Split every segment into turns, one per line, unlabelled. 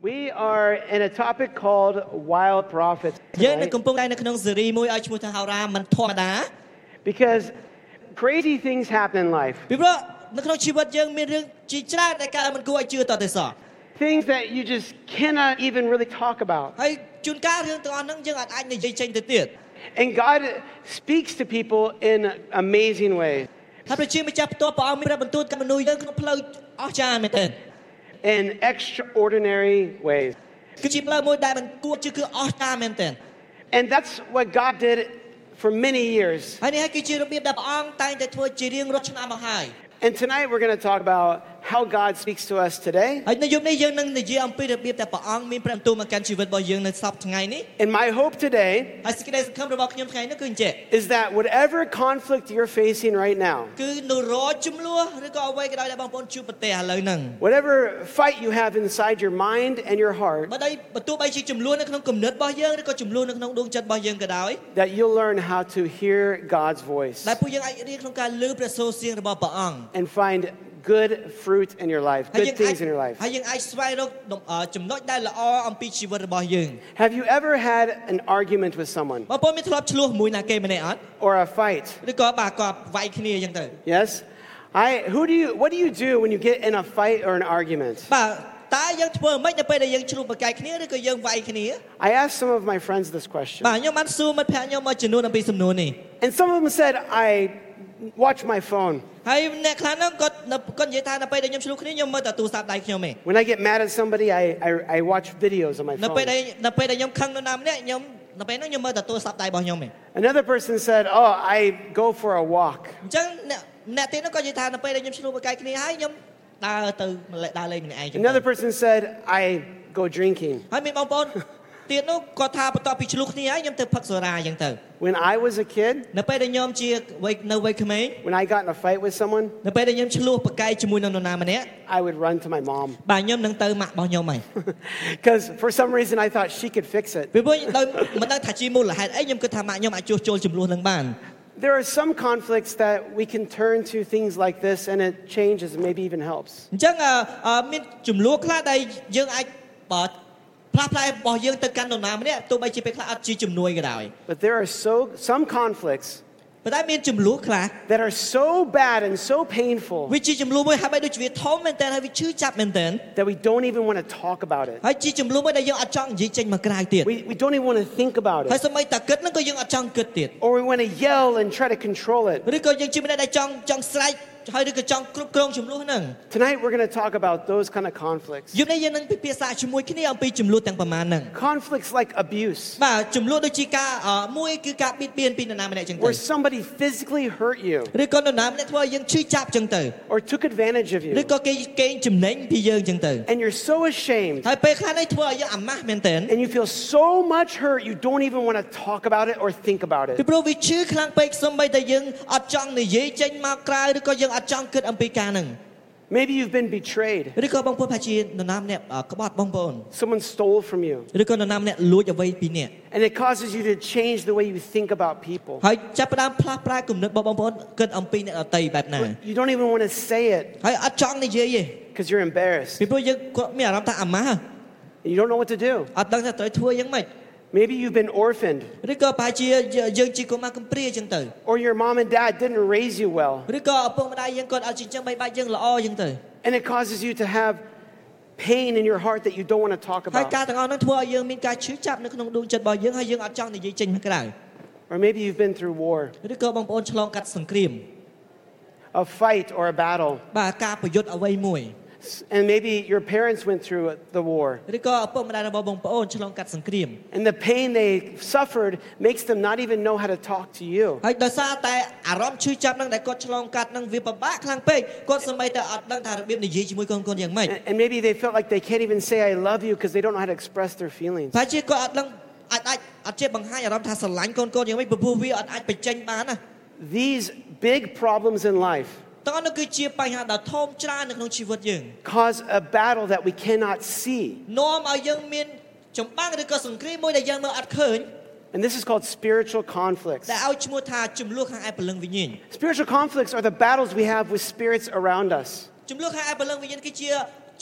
We are in a topic called Wild Prophets
យើងនៅ
tonight
កំពុងតែនៅក្នុងស៊េរីមួយឲ្យឈ្មោះថាហោរាមិនធម្មតា
because crazy things happen in life.
ពីព្រោះនៅក្នុងជីវិតយើងមានរឿងជាច្រើនដែលកើតឡើងមិនគួរឲ្យជឿតទៅសោះ
Things that you just cannot even really talk about.
ហើយជួនកាលរឿងទាំងអស់ហ្នឹងយើងអត់អាចនិយាយចេញទៅទៀត
And God speaks to people in amazing ways.
ហើយប្រជាម្ចាស់ផ្ទាល់ព្រះអង្គមានព្រះបន្ទូលកັບមនុស្សយើងក្នុងផ្លូវអស្ចារ្យមែនទែន
in extraordinary ways.
គឺជាផ្លូវមួយដែលមិនគួរជឿគឺអស្ចារ្យមែនទែន
And that's what God did for many years.
ហើយនេះហើយគឺជារបៀបដែលព្រះអង្គតែងតែធ្វើជារៀងរាល់ឆ្នាំមកហើយ
And tonight we're going to talk about how God speaks to us today.
ហើយនៅយប់នេះយើងនឹងនិយាយអំពីរបៀបដែលព្រះអង្គមានព្រះបន្ទូលមកកាន់ជីវិតរបស់យើងនៅសប្តាហ៍ថ្ងៃនេះ
And my hope today
ហើយសេចក្តីសង្ឃឹមរបស់ខ្ញុំថ្ងៃនេះគឺអញ្ចឹង
is that whatever conflict you're facing right now,
គឺនរោចំនួនឬក៏អ្វីក៏ដោយដែលបងប្អូនជួបប្រទះឥឡូវហ្នឹង
whatever fight you have inside your mind and your heart,
បើដៃបើទោះបីជាចំនួននៅក្នុងគំនិតរបស់យើងឬក៏ចំនួននៅក្នុងដួងចិត្តរបស់យើងក៏ដោយ
that you'll learn how to hear God's voice
ដែលពួកយើងអាចរៀនក្នុងការលើព្រះសូរសៀងរបស់ព្រះអង្គ
and find good fruit in your life,
ហើយយើ
good
ងអាច
things in your life.
ហើយយើងអាចស្វែងរកដំអចំណុចដែលល្អអំពីជីវិតរបស់យើង
Have you ever had an argument with someone
បងប្អូនមានធ្លាប់ឆ្លោះមួយណាគេម្នាក់អត់
or a fight?
ឬក៏បាទគាត់វាយគ្នាអញ្ចឹងទៅ
Yes. I. Who do you? What do you do when you get in a fight or an argument?
បាទតើយើងធ្វើម៉េចនៅពេលដែលយើងឆ្លោះប្រកែកគ្នាឬក៏យើងវាយគ្នា
I asked some of my friends this question,
បាទខ្ញុំបានសួរមិត្តភក្តិខ្ញុំមកចំនួនអំពីសំណួរនេះ
and some of them said, "I watch my phone
ហើយអ្នកខ្លះហ្នឹងគាត់នៅគាត់និយាយថានៅពេលដែលខ្ញុំឆ្លោះគ្នាខ្ញុំមើលតែទូរស័ព្ទដៃខ្ញុំឯង
when I get mad at somebody. I I, I watch videos on my
នៅពេល
phone."
ដែលនៅពេលដែលខ្ញុំខឹងនរណាម្នាក់ខ្ញុំនៅពេលហ្នឹងខ្ញុំមើលតែទូរស័ព្ទដៃរបស់ខ្ញុំឯង
Another person said, "Oh, I go for a walk."
អញ្ចឹងអ្នកអ្នកទៀតហ្នឹងគាត់និយាយថានៅពេលដែលខ្ញុំឆ្លោះប្រកែកគ្នាហើយខ្ញុំដើរទៅម្លេះដើរលេងម្នាក់ឯងចឹង
Another person said, "I go drinking."
ហើយមានបងប្អូនទៀតនោះគាត់ថាបន្ទាប់ពីឆ្លោះគ្នាហើយខ្ញុំទៅផឹកសូរ៉ាអញ្ចឹងទៅ
When I was a kid,
នៅពេលដែលខ្ញុំជាវ័យនៅវ័យក្មេង
when I got in a fight with someone,
នៅពេលដែលខ្ញុំឆ្លោះប្រកែកជាមួយនឹងនរណាម្នាក់
I would run to my mom
បាទខ្ញុំនឹងទៅម៉ាក់របស់ខ្ញុំហើយ
because for some reason I thought she could fix it.
ពីព្រោះដោយមិនដឹងថាជាមូលហេតុអីខ្ញុំគិតថាម៉ាក់ខ្ញុំអាចជួសជុលចំនួននឹងបាន
There are some conflicts that we can turn to things like this and it changes and maybe even helps.
អញ្ចឹងអអមានចំនួនខ្លះដែលយើងអាចបើផ្លាស់ផ្លែរបស់យើងទៅកាន់នរណាម្នាក់ទោះបីជាពេលខ្លះអត់ជាជំនួយក៏ដោយ
But there are so some conflicts
ប៉ុន្តែមានចំនួនខ្លះ
that are so bad and so painful
វាជាចំនួនមួយហើយបែរដូចជាវាធំមែនតើហើយវាឈឺចាប់មែនតើ
that we don't even want to talk about it.
ហើយជាចំនួនមួយដែលយើងអត់ចង់និយាយចេញមកក្រៅទៀត
We, we don't even want to think about
ហើយ
it.
សម័យតាគិតហ្នឹងក៏យើងអត់ចង់គិតទៀត
Or we want to yell and try to control it.
ឬក៏យើងជាម្នាក់ដែលចង់ចង់ស្រែកហើយឬក៏ចង់គ្រប់គ្រងចំនួនហ្នឹង
Tonight we're going to talk about those kind of conflicts.
យប់នេះយើងនឹងពិភាក្សាជាមួយគ្នាអំពីចំនួនទាំងប៉ុន្មានហ្នឹង
Conflicts like abuse,
បាទចំនួនដូចជាការអមួយគឺការបៀតបៀនពីនរណាម្នាក់ចឹងទៅ
where somebody physically hurt you
ឬក៏នរណាម្នាក់ធ្វើឲ្យយើងឈឺចាប់ចឹងទៅ
or took advantage of
ឬ
you,
ក៏គេកេងចំណេញពីយើងចឹងទៅ
and you're so ashamed
ហើយពេលខ្លះនេះធ្វើឲ្យយើងអាម៉ាស់មែនទែន
and you feel so much hurt you don't even want to talk about it or think about
ពី
it.
ព្រោះវាឈឺខ្លាំងពេកសូម្បីតែយើងអត់ចង់និយាយចេញមកក្រៅឬក៏យើងអត់ចង់គិតអំពីការហ្នឹង
Maybe you've been betrayed,
ឬក៏បងប្អូនថាជានរណាម្នាក់អ่าក្បត់បងប្អូន
someone stole from you,
ឬក៏នរណាម្នាក់លួចអ្វីពីអ្នក
and it causes you to change the way you think about people.
ហើយចាប់ផ្ដើមផ្លាស់ប្រែគំនិតរបស់បងប្អូនគិតអំពីអ្នកដតីបែបណា
You don't even want to say it
ហើយអត់ចង់និយាយទេ
because you're embarrassed
ពីព្រោះយើងគាត់មានអារម្មណ៍ថាអាម៉ាស់
and you don't know what to do.
អត់ដឹងថាត្រូវធ្វើយ៉ាងម៉េច
Maybe you've been orphaned
ឬក៏ប្រហែលជាយើងជាកុមារកំព្រាចឹងទៅ
or your mom and dad didn't raise you well
ឬក៏ឪពុកម្ដាយយើងគាត់អត់ចិញ្ចឹមបីបាច់យើងល្អចឹងទៅ
and it causes you to have pain in your heart that you don't want to talk
ហើយ
about.
ការទាំងអស់ហ្នឹងធ្វើឲ្យយើងមានការឈឺចាប់នៅក្នុងដួងចិត្តរបស់យើងហើយយើងអត់ចង់និយាយចេញមកក្រៅ
Or maybe you've been through war,
ឬក៏បងប្អូនឆ្លងកាត់សង្គ្រាម
a fight or a battle,
បាទការប្រយុទ្ធអ្វីមួយ
S- and maybe your parents went through the war.
ឬក៏ឪពុកម្ដាយរបស់បងប្អូនឆ្លងកាត់សង្គ្រាម
And the pain they suffered makes them not even know how to talk to you.
ហើយដោយសារតែអារម្មណ៍ឈឺចាប់ហ្នឹងដែលគាត់ឆ្លងកាត់ហ្នឹងវាពិបាកខ្លាំងពេកគាត់សម្បីតែអត់ដឹងថារបៀបនិយាយជាមួយកូនកូនយ៉ាងម៉េច
And and maybe they felt like they can't even say I love you because they don't know how to express their feelings.
ប្រហែលជាគាត់អត់ដឹងអាចអាចអត់ចេះបង្ហាញអារម្មណ៍ថាស្រឡាញ់កូនកូនយ៉ាងម៉េចពីព្រោះវាអត់អាចបញ្ចេញបានណា
These big problems in life
តោះនោះគឺជាបញ្ហាដ៏ធំច្រើននៅក្នុងជីវិតយើង
cause a battle that we cannot see.
នាំឲ្យយើងមានចម្បាំងឬក៏សង្គ្រាមមួយដែលយើងមើលអត់ឃើញ
And this is called spiritual conflicts.
ដែលឲ្យឈ្មោះថាចំនួនខាងឯព្រលឹងវិញ្ញាណ
Spiritual conflicts are the battles we have with spirits around us.
ចំនួនខាងឯព្រលឹងវិញ្ញាណគឺជា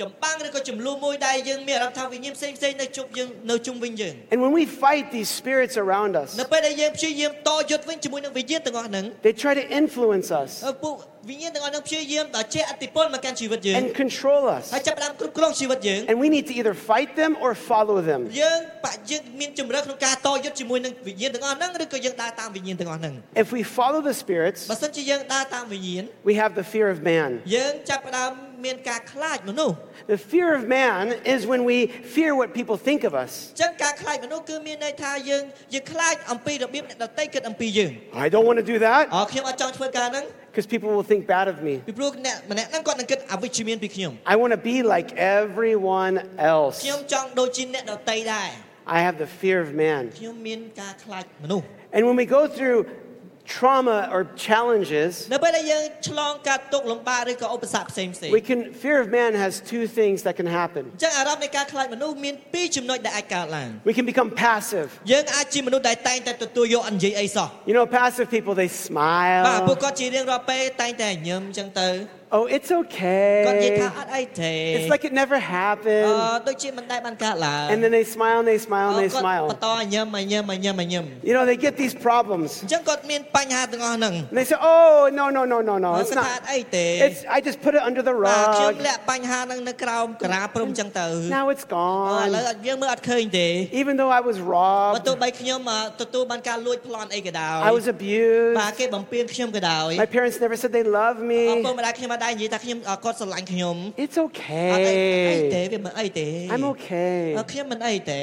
ចម្បាំងឬក៏ចំនួនមួយដែលយើងមានអារម្មណ៍ថាវិញ្ញាណផ្សេងផ្សេងនៅជុំយើងនៅជុំវិញយើង
And when we fight these spirits around us,
នៅពេលដែលយើងព្យាយាមតយុទ្ធវិញជាមួយនឹងវិញ្ញាណទាំងអស់ហ្នឹង
they try to influence us
ពួកវិញ្ញាណទាំងអស់ហ្នឹងព្យាយាមដល់ជះអតិពលមកកាន់ជីវិតយើង
and control us.
ហើយចាប់ផ្ដើមគ្រប់គ្រងជីវិតយើង
And we need to either fight them or follow them.
យើងបាក់យើងមានជំរឿក្នុងការតយុទ្ធជាមួយនឹងវិញ្ញាណទាំងអស់ហ្នឹងឬក៏យើងដើរតាមវិញ្ញាណទាំងអស់ហ្នឹង
If we follow the spirits,
បើសិនជាយើងដើរតាមវិញ្ញាណ
we have the fear of man.
យើងចាប់ផ្ដើមមានការខ្លាចមនុស្ស
The fear of man is when we fear what people think of us.
អញ្ចឹងការខ្លាចមនុស្សគឺមានន័យថាយើងយើងខ្លាចអំពីរបៀបអ្នកដតីគិតអំពីយើង
I don't want to do that
អខ្ញុំអត់ចង់ធ្វើការហ្នឹង
because people will think bad of me.
ពីព្រោះអ្នកម្នាក់ហ្នឹងគាត់នឹងគិតអវិជ្ជមានពីខ្ញុំ
I want to be like everyone else.
ខ្ញុំចង់ដូចជាអ្នកដតីដែរ
I have the fear of man.
ខ្ញុំមានការខ្លាចមនុស្ស
And when we go through trauma or challenges,
នៅពេលដែលយើងឆ្លងកាត់ទុក្ខលំបាកឬក៏ឧបសគ្គផ្សេងផ្សេង
we can fear of man has two things that can happen.
អញ្ចឹងអារម្មណ៍នៃការខ្លាចមនុស្សមានពីរចំណុចដែលអាចកើតឡើង
We can become passive.
យើងអាចជាមនុស្សដែលតែងតែទទួលយកអនិយាយអីសោះ
You know, passive people, they
បាទពួក
smile.
គាត់ជារៀងរាល់ពេលតែងតែញញឹមអញ្ចឹងទៅ
Oh, it's
គាត់និយាយថា
okay.
អត់អីទេ
It's like it never
អ
happened.
ឺដូចជាមិនដែលបានកើតឡើង
And then they smile and they smile
អឺ
and they
គាត់
smile.
បន្តញញឹមញញឹមញញឹមញញឹម
You know, they get these problems.
អញ្ចឹងគាត់មានបញ្ហាទាំងអស់ហ្នឹង
And they say, oh, no, no, no, no, no.
គាត់
It's
ថាអត់
not.
អីទេ
It's, I just put it under the
បាទខ្ញុំ
rug.
លាក់បញ្ហាហ្នឹងនៅក្រោមក្រាលព្រំអញ្ចឹងទៅអ
Now it's
ឺឥឡូវ
gone.
អត់យើងមើលអត់ឃើញទេ
Even though I was
បើទោះ
robbed,
បីខ្ញុំអ่าទទួលបានការលួចប្លន់អីក៏ដោយ
I was
បាទ
abused.
គេបំពានខ្ញុំក៏ដោយ
My parents never said they love
អពុ
me.
កម្ដាយខ្ញុំអត់ដែរនិយាយថាខ្ញុំអ่าគាត់ស្រឡាញ់ខ្ញុំ
It's
អត់អីអីទេ
okay.
វាមិនអីទេ
I'm okay.
អ่าខ្ញុំមិនអីទេ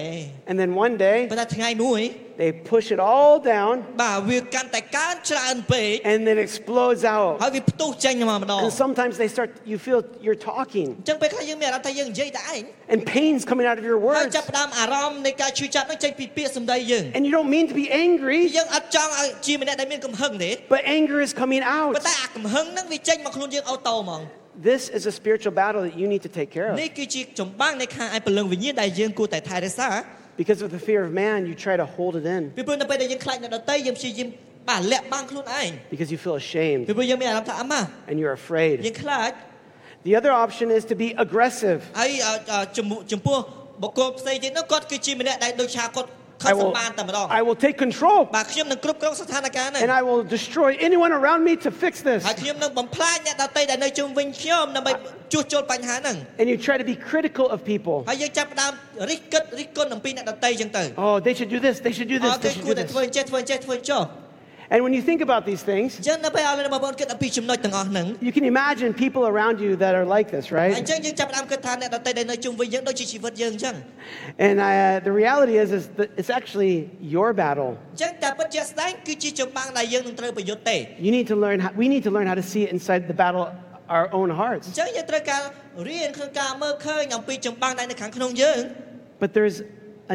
And then one day,
ប៉ុន្តែថ្ងៃមួយ
they push it all down
បាទវាកាន់តែកើនច្រើនពេក
and then explodes out.
ហើយវាផ្ទុះចេញមកម្ដង
And sometimes they start, you feel you're talking
អញ្ចឹងពេលខ្លះយើងមានអារម្មណ៍ថាយើងនិយាយតែឯង
and pain's coming out of your
ហើយ
words.
ចាប់ផ្ដើមអារម្មណ៍នៃការឈឺចាប់នឹងចេញពីពាក្យសម្ដីយើង
And you don't mean to be angry,
យើងអត់ចង់ឲ្យជាម្នាក់ដែលមានកំហឹងទេ
but anger is coming
ប៉ុ
out.
ន្តែអាកំហឹងហ្នឹងវាចេញមកខ្លួនយើងអូតូហ្មង
This is a spiritual battle that you need to take care of.
នេះគឺជាចម្បាំងនៃខាងឯពលឹងវិញ្ញាណដែលយើងគួរតែថែរក្សា
Because of the fear of man, you try to hold it in
ពីព្រោះនៅពេលដែលយើងខ្លាចអ្នកដតីយើងព្យាយាមបាទលាក់បាំងខ្លួនឯង
because you feel
ពី
ashamed
ព្រោះយើងមានអារម្មណ៍ថាអាម៉ា
and you're afraid.
យើងខ្លាច
The other option is to be aggressive.
ហើយអ่าអ่าជំនួចំពោះបុគ្គលផ្សេងទៀតនោះគាត់គឺជាម្នាក់ដែលដូចឆាគាត់ខំ
I
ស
will,
ម្បានតែម្ដង
I will take control
បាទខ្ញុំនឹងគ្រប់គ្រងស្ថានភាពហ្នេះ
and I will destroy anyone around me to fix this.
ហើយខ្ញុំនឹងបំផ្លាញអ្នកដតីដែលនៅជុំវិញខ្ញុំដើម្បីជួសជុលបញ្ហាហ្នឹង
And you try to be critical of people.
ហើយយើងចាប់ផ្ដើមរិះគិតរិះគន់អំពីអ្នកដតីចឹងទៅ
Oh, they should do this, they should do
អ
this,
ត់គេ
they should
គួរ
do
តែ
this.
ធ្វើអញ្ចេះធ្វើអញ្ចេះធ្វើចុះ
And when you think about these
អ
things,
ញ្ចឹងនៅពេលឲ្យលោកបងប្អូនគិតអំពីចំណុចទាំងអស់ហ្នឹង
you can imagine people around you that are like this,
អញ្
right?
ចឹងយើងចាប់ផ្ដើមគិតថាអ្នកដតីដែលនៅជុំវិញយើងដូចជាជីវិតយើងអញ្ចឹង
And I, uh, the reality is, is that it's actually your battle.
អញ្ចឹងតែពិតជាស្ដែងគឺជាចម្បាំងដែលយើងនឹងត្រូវប្រយុទ្ធទេ
You need to learn. How, we need to learn how to see it inside the battle, our own
អ
hearts.
ញ្ចឹងយើងត្រូវការរៀនក្នុងការមើលឃើញអំពីចម្បាំងដែលនៅខាងក្នុងយើង
But there's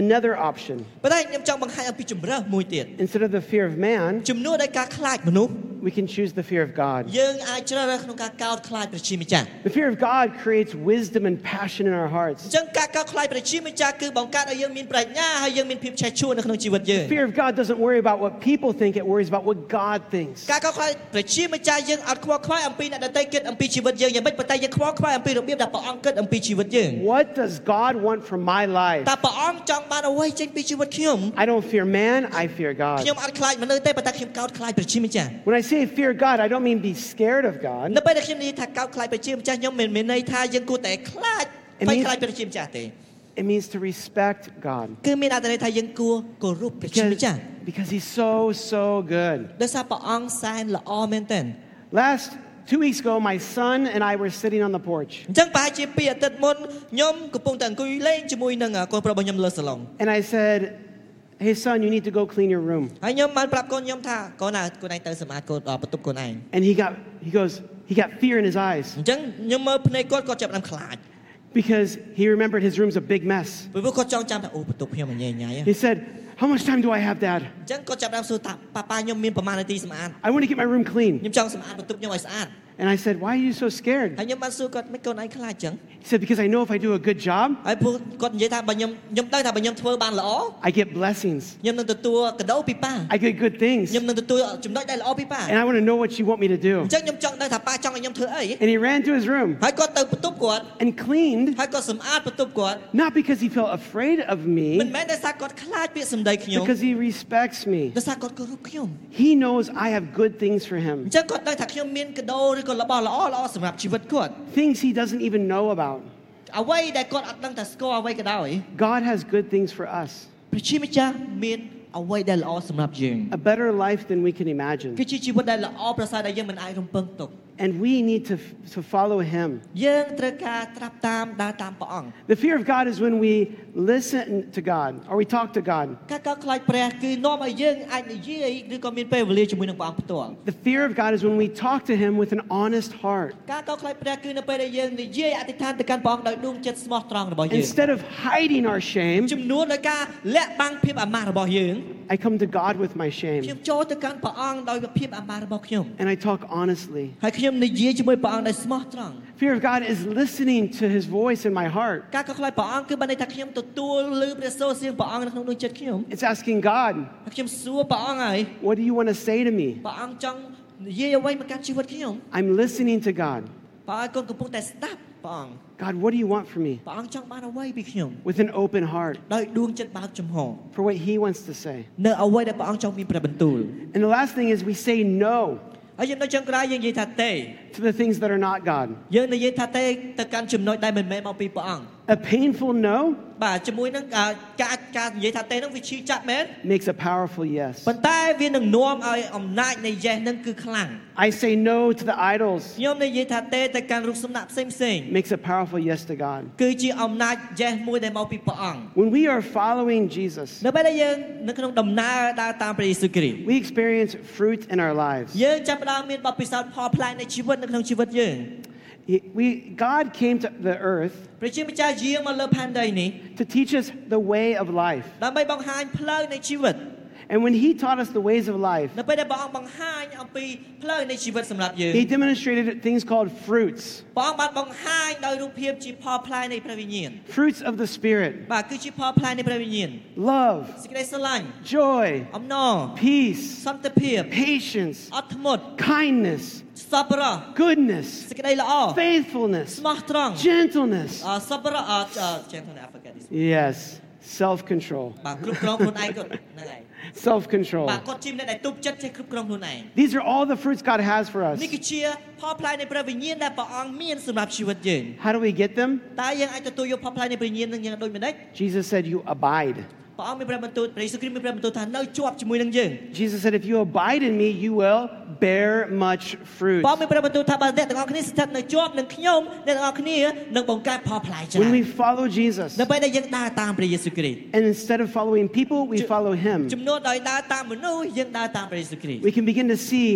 another option.
ប៉ុន្តែខ្ញុំចង់បង្ហាញអំពីជំរើសមួយទៀត
Instead of the fear of man,
ជំនួសដោយការខ្លាចមនុស្ស
we can choose the fear of God.
យើងអាចជ្រើសរើសក្នុងការកោតខ្លាចព្រះជាម្ចាស់
The fear of God creates wisdom and passion in our
អ
hearts.
ញ្ចឹងការកោតខ្លាចព្រះជាម្ចាស់គឺបង្កើតឲ្យយើងមានប្រាជ្ញាហើយយើងមានភាពឆេះឆួលនៅក្នុងជីវិតយើង
Fear of God doesn't worry about what people think; it worries about what God thinks.
ការកោតខ្លាចព្រះជាម្ចាស់យើងអត់ខ្វល់ខ្វាយអំពីអ្នកដទៃគិតអំពីជីវិតយើងយ៉ាងម៉េចប៉ុន្តែយើងខ្វល់ខ្វាយអំពីរបៀបដែលព្រះអង្គគិតអំពីជីវិតយើង
What does God want from my life?
តើព្រះអង្គចង់បានអ្វីចេញពីជីវិតខ្ញុំ
I don't fear man; I fear God.
ខ្ញុំអត់ខ្លាចមនុស្សទេប៉ុន្តែខ្ញុំកោតខ្លាចព្រះជាម្ចាស់
When I say fear God, I don't mean be scared of God.
នៅពេលដែលខ្ញុំនិយាយថាកោតខ្លាចព្រះជាម្ចាស់ខ្ញុំមិនមានន័យថាយើងគួរតែខ្លាច
អេមី
ភ័យខ្លាចព្រះជាម្ចាស់ទេ
It means to respect God
គឺមានអត្ថន័យថាយើងគួរគោរពព្រះជា
because,
ម្ចាស់
because He's so so good.
ដោយសារព្រះអង្គសែនល្អមែនទែន
Last two weeks ago, my son and I were sitting on the porch,
អញ្ចឹងប្រហែលជាពីអាទិត្យមុនខ្ញុំកំពុងតែអង្គុយលេងជាមួយនឹងកូនប្រុសរបស់ខ្ញុំលើសាឡុង
and I said, "Hey, son, you need to go clean your room."
ហើយខ្ញុំបានប្រាប់កូនខ្ញុំថាកូនណាកូនឯងទៅសម្អាតកូនអ่าបន្ទប់កូនឯង
And he got he goes he got fear in his eyes
អញ្ចឹងខ្ញុំមើលភ្នែកគាត់គាត់ចាប់ផ្ដើមខ្លាច
because he remembered his room's a big mess.
ព្រោះគាត់ចង់ចាំថាអូបន្ទប់ខ្ញុំញ៉ៃញ៉ៃហ៎
He said, "How much time do I have, Dad?
អញ្ចឹងគាត់ចាប់ផ្ដើមសួរថាប៉ាប៉ាខ្ញុំមានប្រមាណនាទីសម្អាត
I want to get my room clean."
ខ្ញុំចង់សម្អាតបន្ទប់ខ្ញុំឲ្យស្អាត
And I said, Why are you so scared?
ហើយខ្ញុំបានសួរគាត់មិនកូនឯងខ្លាចចឹង
He said, Because I know if I do a good job,
ហើយពួកគាត់និយាយថាបើខ្ញុំខ្ញុំដឹងថាបើខ្ញុំធ្វើបានល្អ
I get blessings.
ខ្ញុំនឹងទទួលកដោពីប៉ា
I get good things.
ខ្ញុំនឹងទទួលចំណុចដែលល្អពីប៉ា
And I want to know what you want me to
អ
do.
ញ្ចឹងខ្ញុំចង់ដឹងថាប៉ាចង់ឲ្យខ្ញុំធ្វើអី
And he ran to his room
ហើយគាត់ទៅបន្ទប់គាត់
and cleaned,
ហើយគាត់សម្អាតបន្ទប់គាត់
not because he felt afraid of
មិន
me,
មែនដោយសារគាត់ខ្លាចពាក្យសម្ដីខ្ញុំ
because he respects me.
ដោយសារគាត់គោរពខ្ញុំ
He knows I have good things for
អ
him,
ញ្ចឹងគាត់ដឹងថាខ្ញុំមានកដោឬក៏របស់ល្អល្អសម្រាប់ជីវិតគាត់
things he doesn't even know about.
អ្វីដែលគាត់អត់ដឹងថាស្គាល់អ្វីក៏ដោយ
God has good things for us,
ព្រះជាម្ចាស់មានអ្វីដែលល្អសម្រាប់យើង
a better life than we can imagine.
គឺជាជីវិតដែលល្អប្រសើរដែលយើងមិនអាចរំពឹងទុក
And we need to, to follow him.
យើងត្រូវការត្រាប់តាមដើរតាមព្រះអង្គ
The fear of God is when we listen to God or we talk to God.
ការកោតខ្លាចព្រះគឺនាំឲ្យយើងអាចនិយាយឬក៏មានពេលវេលាជាមួយនឹងព្រះអង្គផ្ទាល់
The fear of God is when we talk to him with an honest heart
ការកោតខ្លាចព្រះគឺនៅពេលដែលយើងនិយាយអធិដ្ឋានទៅកាន់ព្រះអង្គដោយដួងចិត្តស្មោះត្រង់របស់យើង
Instead of hiding our shame,
ជំនួសដោយការលាក់បាំងភាពអាម៉ាស់របស់យើង
I come to God with my
ខ្ញុំ
shame
ចូលទៅកាន់ព្រះអង្គដោយភាពអាម៉ាស់របស់ខ្ញុំ
and I talk honestly.
ហើយខ្ញុំនិយាយជាមួយព្រះអង្គដោយស្មោះត្រង់
Fear of God is listening to his voice in my heart.
ការកោតខ្លាចព្រះអង្គគឺបានន័យថាខ្ញុំទទួលឮព្រះសូរសៀងព្រះអង្គនៅក្នុងដួងចិត្តខ្ញុំ
It's asking God,
ហើយខ្ញុំសួរព្រះអង្គហើយ
what do you want to say to me?
ព្រះអង្គចង់និយាយអ្វីមកកាន់ជីវិតខ្ញុំ
I'm listening to God.
ព្រះអង្គក៏កំពុងតែស្ដាប់ព្រះអង្គ
God, what do you want from me?
ព្រះអង្គចង់បានអ្វីពីខ្ញុំ
With an open heart
ដោយដួងចិត្តបើកចំហ
for what he wants to say.
នៅអ្វីដែលព្រះអង្គចង់មានព្រះបន្ទូល
And the last thing is we say no
ហើយយើងនៅចុងក្រោយយើងនិយាយថាទេ
to the things that are not God.
យើងនិយាយថាទេទៅកាន់ចំណុចដែលមិនមែនមកពីព្រះអង្គ
A painful no
បាទជាមួយនឹងអ่าការការនិយាយថាទេហ្នឹងវាឈឺចាប់មែន
makes a powerful yes.
ប៉ុន្តែវានឹងនាំឲ្យអំណាចនៃ yes ហ្នឹងគឺខ្លាំង
I say no to the idols
ខ្ញុំនិយាយថាទេទៅកាន់រូបសំណាក់ផ្សេងផ្សេង
makes a powerful yes to God.
គឺជាអំណាច yes មួយដែលមកពីព្រះអង្គ
When we are following Jesus,
នៅពេលដែលយើងនៅក្នុងដំណើរដើរតាមព្រះយេស៊ូវគ្រីស្ទ
we experience fruit in our lives.
យើងចាប់ផ្ដើមមានបទពិសោធន៍ផលផ្លែនៃជីវិតនៅក្នុងជីវិតយើង
He- We, God came to the earth
ព្រះជាម្ចាស់យាងមកលើផែនដីនេះ
to teach us the way of life.
ដើម្បីបង្ហាញផ្លូវនៃជីវិត
And when He taught us the ways of life,
នៅពេលដែលព្រះអង្គបង្ហាញអំពីផ្លូវនៃជីវិតសម្រាប់យើង
He demonstrated things called fruits,
ព្រះអង្គបានបង្ហាញដោយរូបភាពជាផលផ្លែនៃព្រះវិញ្ញាណ
fruits of the Spirit,
បាទគឺជាផលផ្លែនៃព្រះវិញ្ញាណ
love,
សេចក្តីស្រឡាញ់
joy,
អំណរ
peace,
សន្តិភាព
patience,
អត់ធ្មត់
kindness,
សប្បុរស
goodness,
សេចក្តីល្អ
faithfulness,
ស្មោះត្រង់
gentleness,
អសប្បុរសអអចេះទៅ forget this
yes, self control,
បាទគ្រប់គ្រងខ្លួនឯងគាត់ហ្នឹងហើយ
self control.
បាទគាត់ជាអ្នកដែលទប់ចិត្តចេះគ្រប់គ្រងខ្លួនឯង
These are all the fruits God has for us.
នេះគឺជាផលផ្លែនៃព្រះវិញ្ញាណដែលព្រះអង្គមានសម្រាប់ជីវិតយើង
How do we get them?
តើយើងអាចទទួលយកផលផ្លែនៃព្រះវិញ្ញាណនឹងយ៉ាងដូចម្ដេច
Jesus said, You abide.
ព្រះអង្គមានព្រះបន្ទូលព្រះយេស៊ូវគ្រីស្ទមានព្រះបន្ទូលថានៅជាប់ជាមួយនឹងយើង
Jesus said, If you abide in me, you will bear much fruit.
ព្រះអង្គមានព្រះបន្ទូលថាបើអ្នកទាំងអស់គ្នាស្ថិតនៅជាប់នឹងខ្ញុំអ្នកទាំងអស់គ្នានឹងបង្កើតផលផ្លែច្រើន
When we follow Jesus,
នៅពេលដែលយើងដើរតាមព្រះយេស៊ូវគ្រីស្ទ
and instead of following people, we follow him,
ជំនួសដោយដើរតាមមនុស្សយើងដើរតាមព្រះយេស៊ូវគ្រីស្ទ
we can begin to see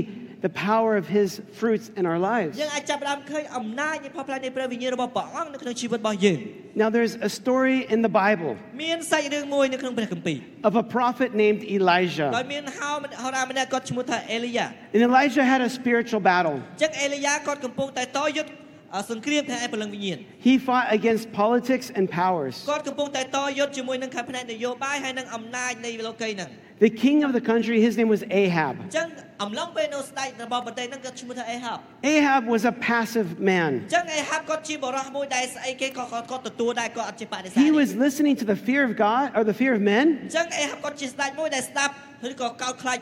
the power of his fruits in our lives.
យើងអាចចាប់ផ្ដើមឃើញអំណាចនៃផលផ្លែនៃព្រះវិញ្ញាណរបស់ព្រះអង្គនៅក្នុងជីវិតរបស់យើង
Now, there's a story in the Bible
មានសាច់រឿងមួយនៅក្នុងព្រះគម្ពីរ
of a prophet named
ដោយ
Elijah.
មានហោហោរាម្នាក់គាត់ឈ្មោះថាអេលីយ៉ា
And Elijah had a spiritual battle.
អញ្ចឹងអេលីយ៉ាគាត់កំពុងតែតយុទ្ធអ่าសង្គ្រាមផ្នែកឯព្រលឹងវិញ្ញាណ
He fought against politics and powers.
គាត់កំពុងតែតយុទ្ធជាមួយនឹងខាងផ្នែកនយោបាយហើយនិងអំណាចនៃលោកីយ៍ហ្នឹង
The king of the country, his name was Ahab.
អញ្ចឹងអំឡុងពេលនោះស្ដេចរបស់ប្រទេសហ្នឹងគាត់ឈ្មោះថាអេហាប់
Ahab was a passive man.
អញ្ចឹងអេហាប់គាត់ជាបរិះមួយដែលស្អីគេក៏គាត់គាត់ទទួលដែរគាត់អត់ចេះបដិសេធទេ
He was listening to the fear of God or the fear of men,
អញ្ចឹងអេហាប់គាត់ជាស្ដេចមួយដែលស្ដាប់ឬក៏កោតខ្លាច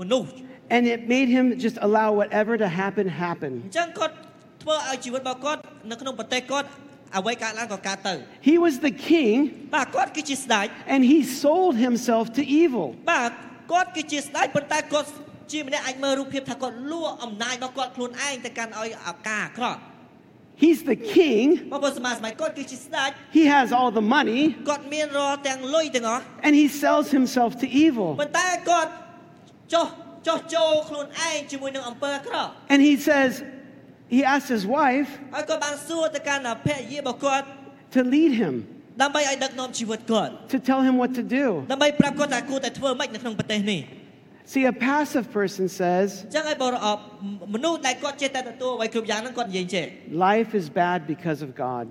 មនុស្ស
and it made him just allow whatever to happen, happen.
អញ្ចឹងគាត់ធ្វើឲ្យជីវិតរបស់គាត់នៅក្នុងប្រទេសគាត់អ្វីកើតឡើងក៏កើតទៅ
He was the king,
បាទគាត់គឺជាស្ដេច
and he sold himself to evil.
បាទគាត់គឺជាស្ដេចប៉ុន្តែគាត់ជាម្នាក់អាចមើលរូបភាពថាគាត់លួអំណាចរបស់គាត់ខ្លួនឯងទៅកាន់ឲ្យអាការអាក្រក់
He's the king,
បងប្អូនសមាជិកគាត់គឺជាស្ដេច
he has all the money,
គាត់មានរាល់ទាំងលុយទាំងអស់
and he sells himself to evil.
ប៉ុន្តែគាត់ចោះចោះចូលខ្លួនឯងជាមួយនឹងអំពើអាក្រក់
And he says, he asked his wife
ហើយគាត់បានសួរទៅកាន់ភរិយារបស់គាត់
to lead him,
ដើម្បីឲ្យដឹកនាំជីវិតគាត់
to tell him what to do.
ដើម្បីប្រាប់គាត់ថាគួរតែធ្វើម៉េចនៅក្នុងប្រទេសនេះ
See, a passive person says,
អញ្ចឹងហើយបងប្អូនមនុស្សដែលគាត់ចេះតែទទួលអ្វីគ្រប់យ៉ាងហ្នឹងគាត់និយាយចេះ
life is bad because of God.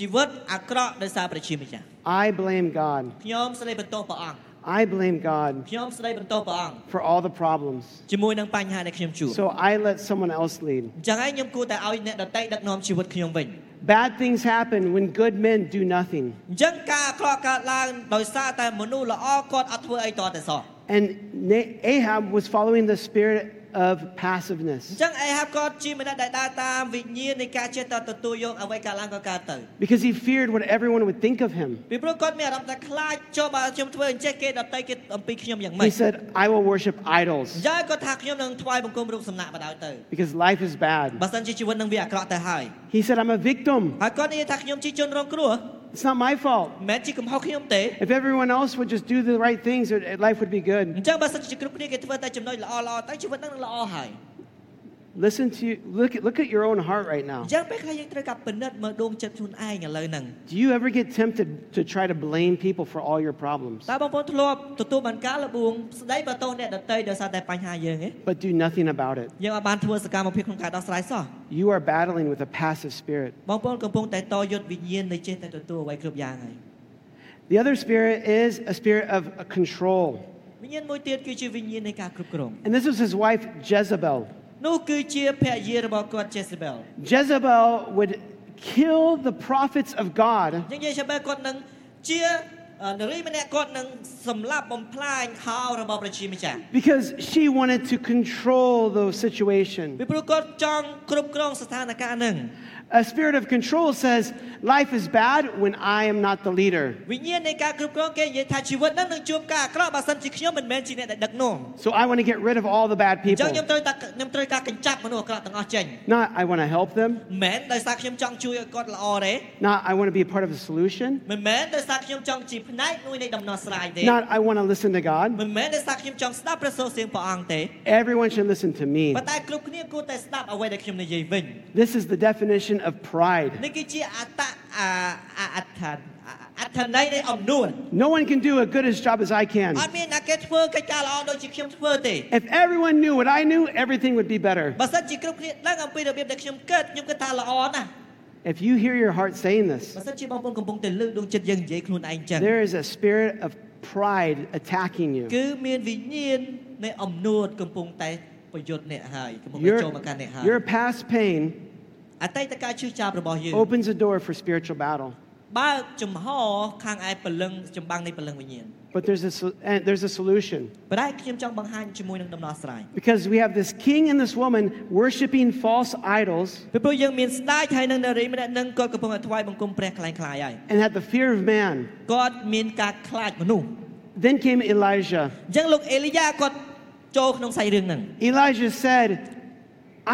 ជីវិតអាក្រក់ដោយសារប្រជាម្ចាស់
I blame God.
ខ្ញុំស្ដីបន្ទោសព្រះអង្គ
I blame God
ខ្ញុំស្ដីបន្ទោសព្រះអង្គ
for all the problems.
ជាមួយនឹងបញ្ហាដែលខ្ញុំជួប
So I let someone else lead.
អញ្ចឹងហើយខ្ញុំគួរតែឲ្យអ្នកដតីដឹកនាំជីវិតខ្ញុំវិញ
Bad things happen when good men do nothing.
អញ្ចឹងការអាក្រក់កើតឡើងដោយសារតែមនុស្សល្អគាត់អត់ធ្វើអីតតែសោះ
And Na- Ahab was following the spirit of
អញ្
passiveness
ចឹងអេហាប់គាត់ជាមនុស្សដែលដើរតាមវិញ្ញាណនៃការចេះតែទទួលយកអ្វីកើតឡើងក៏កើតទៅ
because he feared what everyone would think of him.
ពីព្រោះគាត់មានអារម្មណ៍ថាខ្លាចចុះបើខ្ញុំធ្វើអញ្ចេះគេដតីគេអំពីខ្ញុំយ៉ាងម៉េ
He
ច
said, I will worship
អ
idols
ញ្ចឹងគាត់ថាខ្ញុំនឹងថ្វាយបង្គំរូបសំណាកបដៅទៅ
because life is bad.
បើសិនជាជីវិតនឹងវាអាក្រក់ទៅហើយ
He said, I'm a victim.
ហើយគាត់និយាយថាខ្ញុំជាជនរងគ្រោះ
It's not my fault.
មិនមែនជាកំហុសខ្ញុំទេ
If everyone else would just do the right things, it- life would be
អ
good.
ញ្ចឹងបើសិនជាគ្រប់គ្នាគេធ្វើតែចំណុចល្អល្អៗទៅជីវិតហ្នឹងនឹងល្អហើយ
Listen to look at look at your own heart right
អ
now.
ញ្ចឹងពេលខ្លះយើងត្រូវកាពិនិត្យមើលដួងចិត្តខ្លួនឯងឥឡូវហ្នឹង
Do you ever get tempted to try to blame people for all your problems,
តើបងប្អូនធ្លាប់ទទួលបានការលបួងស្ដីបន្ទោសអ្នកដតីដោយសារតែបញ្ហាយើងឯង
but do nothing about it?
យើងអាចបានធ្វើសកម្មភាពក្នុងការដោះស្រាយសោះ
You are battling with a passive spirit.
បងប្អូនកំពុងតែតយុទ្ធវិញ្ញាណនៃចេះតែទទួលអ្វីគ្រប់យ៉ាងហើយ
The other spirit is a spirit of control.
វិញ្ញាណមួយទៀតគឺជាវិញ្ញាណនៃការគ្រប់គ្រង
And this was his wife, Jezebel.
នោះគឺជាភរិយារបស់គាត់ Jezebel
Jezebel would kill the prophets of God
យើង Jezebel គាត់នឹងជានារីម្នាក់គាត់នឹងសម្លាប់បំផ្លាញហោរបស់ប្រជាម្ចាស់
because she wanted to control the
ពី
situation.
ព្រោះគាត់ចង់គ្រប់គ្រងស្ថានភាពហ្នឹង
A spirit of control says, Life is bad when I am not the leader.
វិញ្ញាណនៃការគ្រប់គ្រងគេនិយាយថាជីវិតហ្នឹងនឹងជួបការអាក្រក់បើសិនជាខ្ញុំមិនមែនជាអ្នកដែលដឹកនាំ
So I want to get rid of all the bad
អញ្ចឹងខ្ញុំ
people.
ត្រូវតែខ្ញុំត្រូវការកញ្ចាប់មនុស្សអាក្រក់ទាំងអស់ចេញ
Not I want to help them,
មិនមែនដោយសារខ្ញុំចង់ជួយឲ្យគាត់ល្អទេ
not I want to be a part of the solution,
មិនមែនដោយសារខ្ញុំចង់ជាផ្នែកមួយនៃដំណោះស្រាយទេ
not I want to listen to God.
មិនមែនដោយសារខ្ញុំចង់ស្ដាប់ព្រះសូរសៀងព្រះអង្គទេ
Everyone should listen to me.
ប៉ុន្តែគ្រប់គ្នាគួរតែស្ដាប់អ្វីដែលខ្ញុំនិយាយវិញ
This is the definition of pride.
នេះគឺជាអត្តអាអាអត្ថនអត្ថន័យនៃអំនួន
No one can do as good a job as I can.
អត់មានអ្នកគេធ្វើកិច្ចការល្អដូចជាខ្ញុំធ្វើទេ
If everyone knew what I knew, everything would be better.
បើសិនជាគ្រប់គ្នាដឹងអំពីរបៀបដែលខ្ញុំកើតខ្ញុំគិតថាល្អណាស់
If you hear your heart saying this,
បើសិនជាបងប្អូនកំពុងតែលើកដួងចិត្តយើងនិយាយខ្លួនឯងចឹង
there is a spirit of pride attacking you.
គឺមានវិញ្ញាណនៃអំនួនកំពុងតែប្រយុទ្ធអ្នកហើយកំពុងតែចូល
Your,
មកកាន់អ្នកហើយ
your past pain
អតីតការឈឺចាប់របស់យើង
opens a door for spiritual battle.
បើកចំហខាងឯពលឹងចម្បាំងនៃពលឹងវិញ្ញាណ
But there's a, sol- and there's a solution.
ប៉ុន្តែខ្ញុំចង់បង្ហាញជាមួយនឹងដំណោះស្រាយ
Because we have this king and this woman worshiping false idols
ពីព្រោះយើងមានស្ដេចហើយនឹងនារីម្នាក់នឹងគាត់កំពុងតែថ្វាយបង្គំព្រះខ្លាំងខ្លាយហើយ
and had the fear of man.
គាត់មានការខ្លាចមនុស្ស
Then came Elijah.
អញ្ចឹងលោកអេលីយ៉ាគាត់ចូលក្នុងសាច់រឿងហ្នឹង
Elijah said,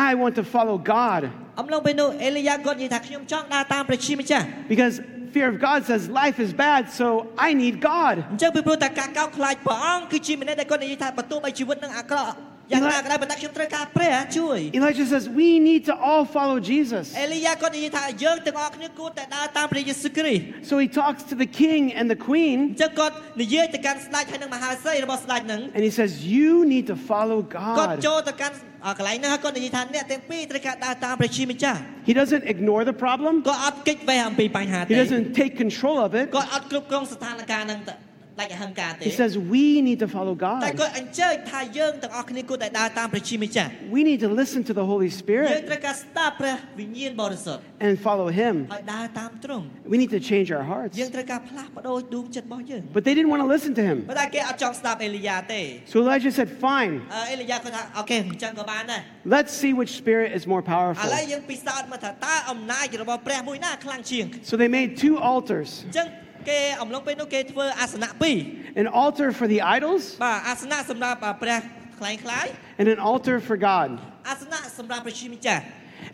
I want to follow God
អំឡុងពេលនោះអេលីយ៉ាគាត់និយាយថាខ្ញុំចង់ដើរតាមព្រះជាម្ចាស់
because fear of God says life is bad, so I need God.
អញ្ចឹងពីព្រោះតែការកោតខ្លាចព្រះអង្គគឺជាម្នាក់ដែលគាត់និយាយថាបន្ទោះបីជីវិតនឹងអាក្រក់យ៉ាងណាក៏ដោយប៉ុន្តែខ្ញុំត្រូវការព្រះជួយ
Elijah says, We need to all follow Jesus.
អេលីយ៉ាគាត់និយាយថាយើងទាំងអស់គ្នាគួរតែដើរតាមព្រះយេស៊ូវគ្រីស្ទ
So he talks to the king and the
អ
queen
ញ្ចឹងគាត់និយាយទៅកាន់ស្ដេចហើយនឹងមហាសីរបស់ស្ដេចហ្នឹង
and he says, You need to follow
គាត់
God.
ចូលទៅកាន់អ่ากន្លែងហ្នឹងហើយគាត់និយាយថាអ្នកទាំងពីរត្រូវការដើរតាមព្រះជាម្ចាស់
He doesn't ignore the problem,
គាត់អត់គេចវេះអំពីបញ្ហាទេ
he doesn't take control of it.
គាត់អត់គ្រប់គ្រងស្ថានភាពហ្នឹងទៅដាច់អហិង្ការទេ
He says, We need to follow
តែ
God.
គាត់អញ្ជើញថាយើងទាំងអស់គ្នាគួរតែដើរតាមព្រះជាម្ចាស់
We need to listen to the Holy
យើង
Spirit
ត្រូវការស្ដាប់ព្រះវិញ្ញាណបរិសុទ្ធ
and follow Him.
ហើយដើរតាមទ្រង់
We need to change our hearts.
យើងត្រូវការផ្លាស់ប្ដូរដួងចិត្តរបស់យើង
But they didn't want to listen to him.
ប៉ុន្តែគេអត់ចង់ស្ដាប់អេលីយ៉ាទេ
So Elijah said, Fine,
អឺអេលីយ៉ាគាត់ថាអូខេអញ្ចឹងក៏បានដែរ
let's see which spirit is more
ឥ
powerful.
ឡូវយើងពិសោធន៍មើលថាតើអំណាចរបស់ព្រះមួយណាខ្លាំងជាង
So they made two altars
អញ្ចឹងគេអំឡុងពេលនោះគេធ្វើអាសនៈពីរ
an altar for the idols
បាទអាសនៈសម្រាប់ព្រះខ្លាំងខ្លាយ
and an altar for God.
អាសនៈសម្រាប់ព្រះជាម្ចាស់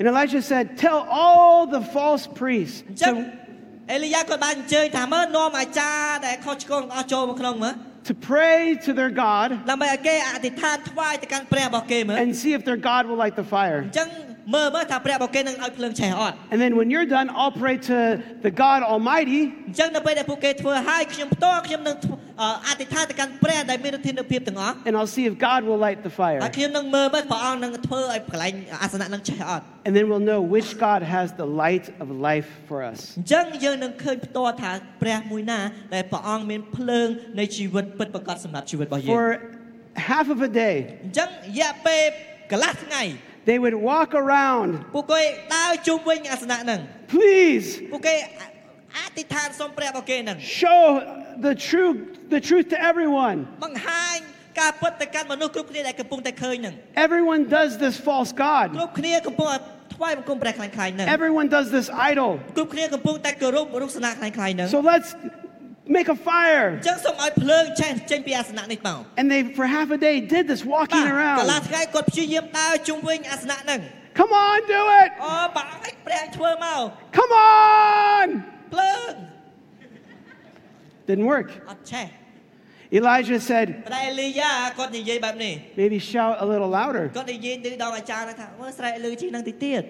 And Elijah said, Tell all the false priests
អញ្ចឹង
to,
អេលីយ៉ាគាត់បានអញ្ជើញថាមើលនាំអាចារ្យដែលខុសឆ្គងទាំងអស់ចូលមកក្នុងមើល
to pray to their God
ដើម្បីឲ្យគេអធិដ្ឋានថ្វាយទៅកាន់ព្រះរបស់គេមើល
and see if their God will light the fire.
អញ្ចឹង មើលមើលថាព្រះរបស់គេនឹងឲ្យភ្លើងឆេះអត់
And then when you're done, I'll pray to the God Almighty
អញ្ចឹងនៅពេលដែលពួកគេធ្វើហើយខ្ញុំផ្ទាល់ខ្ញុំនឹងធ្វើអអធិដ្ឋានទៅកាន់ព្រះដែលមានឫទ្ធានុភាពទាំងអស់
and I'll see if God will light the
ហើយ
fire.
ខ្ញុំនឹងមើលមើលព្រះអង្គនឹងធ្វើឲ្យកន្លែងអាសនៈនឹងឆេះអត់
And then we'll know which God has the light of life for us.
អញ្ចឹងយើងនឹងឃើញផ្ទាល់ថាព្រះមួយណាដែលព្រះអង្គមានភ្លើងនៃជីវិតពិតប្រាកដសម្រាប់ជីវិតរបស់យើង
For half of a day,
អញ្ចឹងរយៈពេលកន្លះថ្ងៃ
they would walk around,
ពួកគេដើរជុំវិញអាសនៈហ្នឹង
please
ពួកគេអធិដ្ឋានសូមព្រះរបស់គេហ្នឹង
show the true the truth to everyone.
បង្ហាញការពិតទៅកាន់មនុស្សគ្រប់គ្នាដែលកំពុងតែឃើញហ្នឹង
Everyone does this false god.
គ្រប់គ្នាកំពុងតែថ្វាយបង្គំព្រះខ្លាំងខ្លាយហ្នឹង
Everyone does this idol.
គ្រប់គ្នាកំពុងតែគោរពរូបសនៈខ្លាំងខ្លាយហ្នឹង
So let's make a fire.
ចឹងសូមឲ្យភ្លើងឆេះចេញពីអាសនៈនេះមក
And they for half a day did this
បា
walking
ទកន្លះ
around.
ថ្ងៃគាត់ព្យាយាមដើរជុំវិញអាសនៈហ្នឹង
Come on, do it.
អូបាក់ឲ្យព្រះធ្វើមក
Come on.
ភ្លើង
Didn't work.
អត់ឆេះ
Elijah said,
ប្រែលីយ៉ាគាត់និយាយបែបនេះ
maybe shout a little louder.
គាត់និយាយទៅដល់អាចារ្យហ្នឹងថាមើលស្រែកលឺជីហ្នឹងតិចទៀត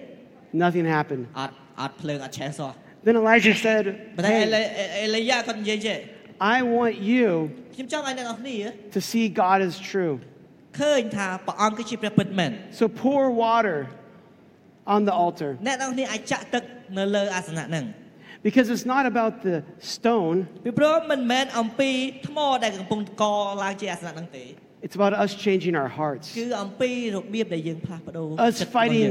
Nothing happened.
អត់អត់ភ្លើងអត់ឆេះសោះ
Then Elijah said,
ប៉ុន្តែ
"Hey,
អេលីអេលីយ៉ាគាត់និយាយចេះ
I want you
ខ្ញុំចង់ឲ្យអ្នកនរគ្នា
to see God as true.
ឃើញថាព្រះអង្គគឺជាព្រះពិតមែន
So pour water on the altar
អ្នកនរគ្នាអាចចាក់ទឹកនៅលើអាសនៈហ្នឹង
because it's not about the stone,
ពីព្រោះមិនមែនអំពីថ្មដែលកំពុងកឡើងជាអាសនៈហ្នឹងទេ
it's about us changing our hearts,
គឺអំពីរបៀបដែលយើងផ្លាស់ប្ដូរ
us
ចិត្តរបស់យើង
fighting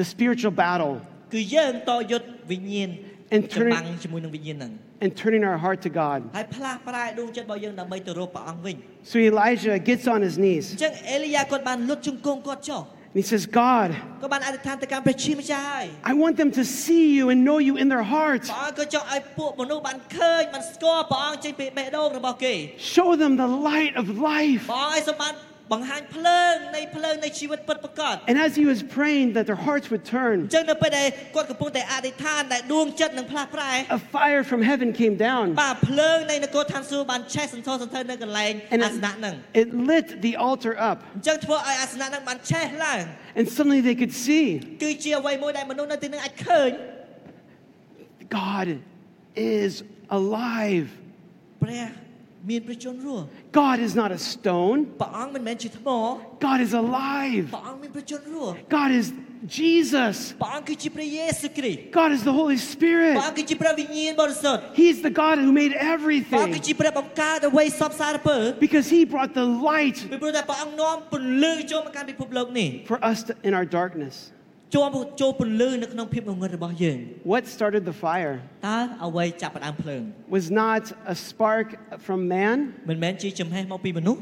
the spiritual battle
គឺយើងតយុទ្ធវិញ្ញាណ
And
ចម្
turn-
បាំងជាមួយនឹងវិញ្ញាណហ្នឹង
and turning our heart to God.
ហើយផ្លាស់ប្រែដួងចិត្តរបស់យើងដើម្បីទៅរកព្រះអង្គវិញ
So Elijah gets on his
អ
knees
ញ្ចឹងអេលីយ៉ាគាត់បានលុតជង្គង់គាត់ចុះ
and he says, God,
គាត់បានអធិដ្ឋានទៅកាន់ព្រះជាម្ចាស់ហើយ
I want them to see you and know you in their hearts.
ព្រះអង្គក៏ចង់ឲ្យពួកមនុស្សបានឃើញបានស្គាល់ព្រះអង្គចេញពីបេះដូងរបស់គេ
Show them the light of life.
ព្រះអង្គឲ្យសម្បានបង្ហាញភ្លើងនៃភ្លើងនៃជីវិតពិតប្រាកដ
And as he was praying that their hearts would
អ
turn,
ញ្ចឹងនៅពេលដែលគាត់កំពុងតែអធិដ្ឋានដែលដួងចិត្តនឹងផ្លាស់ប្រែ
a fire from heaven came down.
បាទភ្លើងនៃនគរឋានសួគ៌បានឆេះសន្ធោសន្ធៅនៅកន្លែង
And
អាសនៈហ្នឹង
it, it lit the altar up.
អញ្ចឹងធ្វើឲ្យអាសនៈហ្នឹងបានឆេះឡើង
And suddenly they could see
គឺជាអ្វីមួយដែលមនុស្សនៅទីហ្នឹងអាចឃើញ
God is alive.
ព្រះមានព្រះជន្មរស់
God is not a stone.
ព្រះអង្គមិនមែនជាថ្ម
God is alive.
ព្រះអង្គមានព្រះជន្មរស់
God is Jesus.
ព្រះអង្គគឺជាព្រះយេស៊ូវគ្រីស្ទ
God is the Holy
ព្រះ
Spirit.
អង្គគឺជាព្រះវិញ្ញាណបរិសុទ្ធ
He's the God who made
ព្រះអ
everything
ង្គគឺជាព្រះបង្កើតអ្វីសពសារពើ
because he brought the light
ពីព្រោះតែព្រះអង្គនាំពន្លឺចូលមកកាន់ពិភពលោកនេះ
for us to, in our darkness.
ចូលមកចូលពន្លឺនៅក្នុងភាពងងឹតរបស់យើង
What started the fire
តើអ្វីចាប់ផ្ដើមភ្លើង
was not a spark from man.
មិនមែនជាចំហេះមកពីមនុស្ស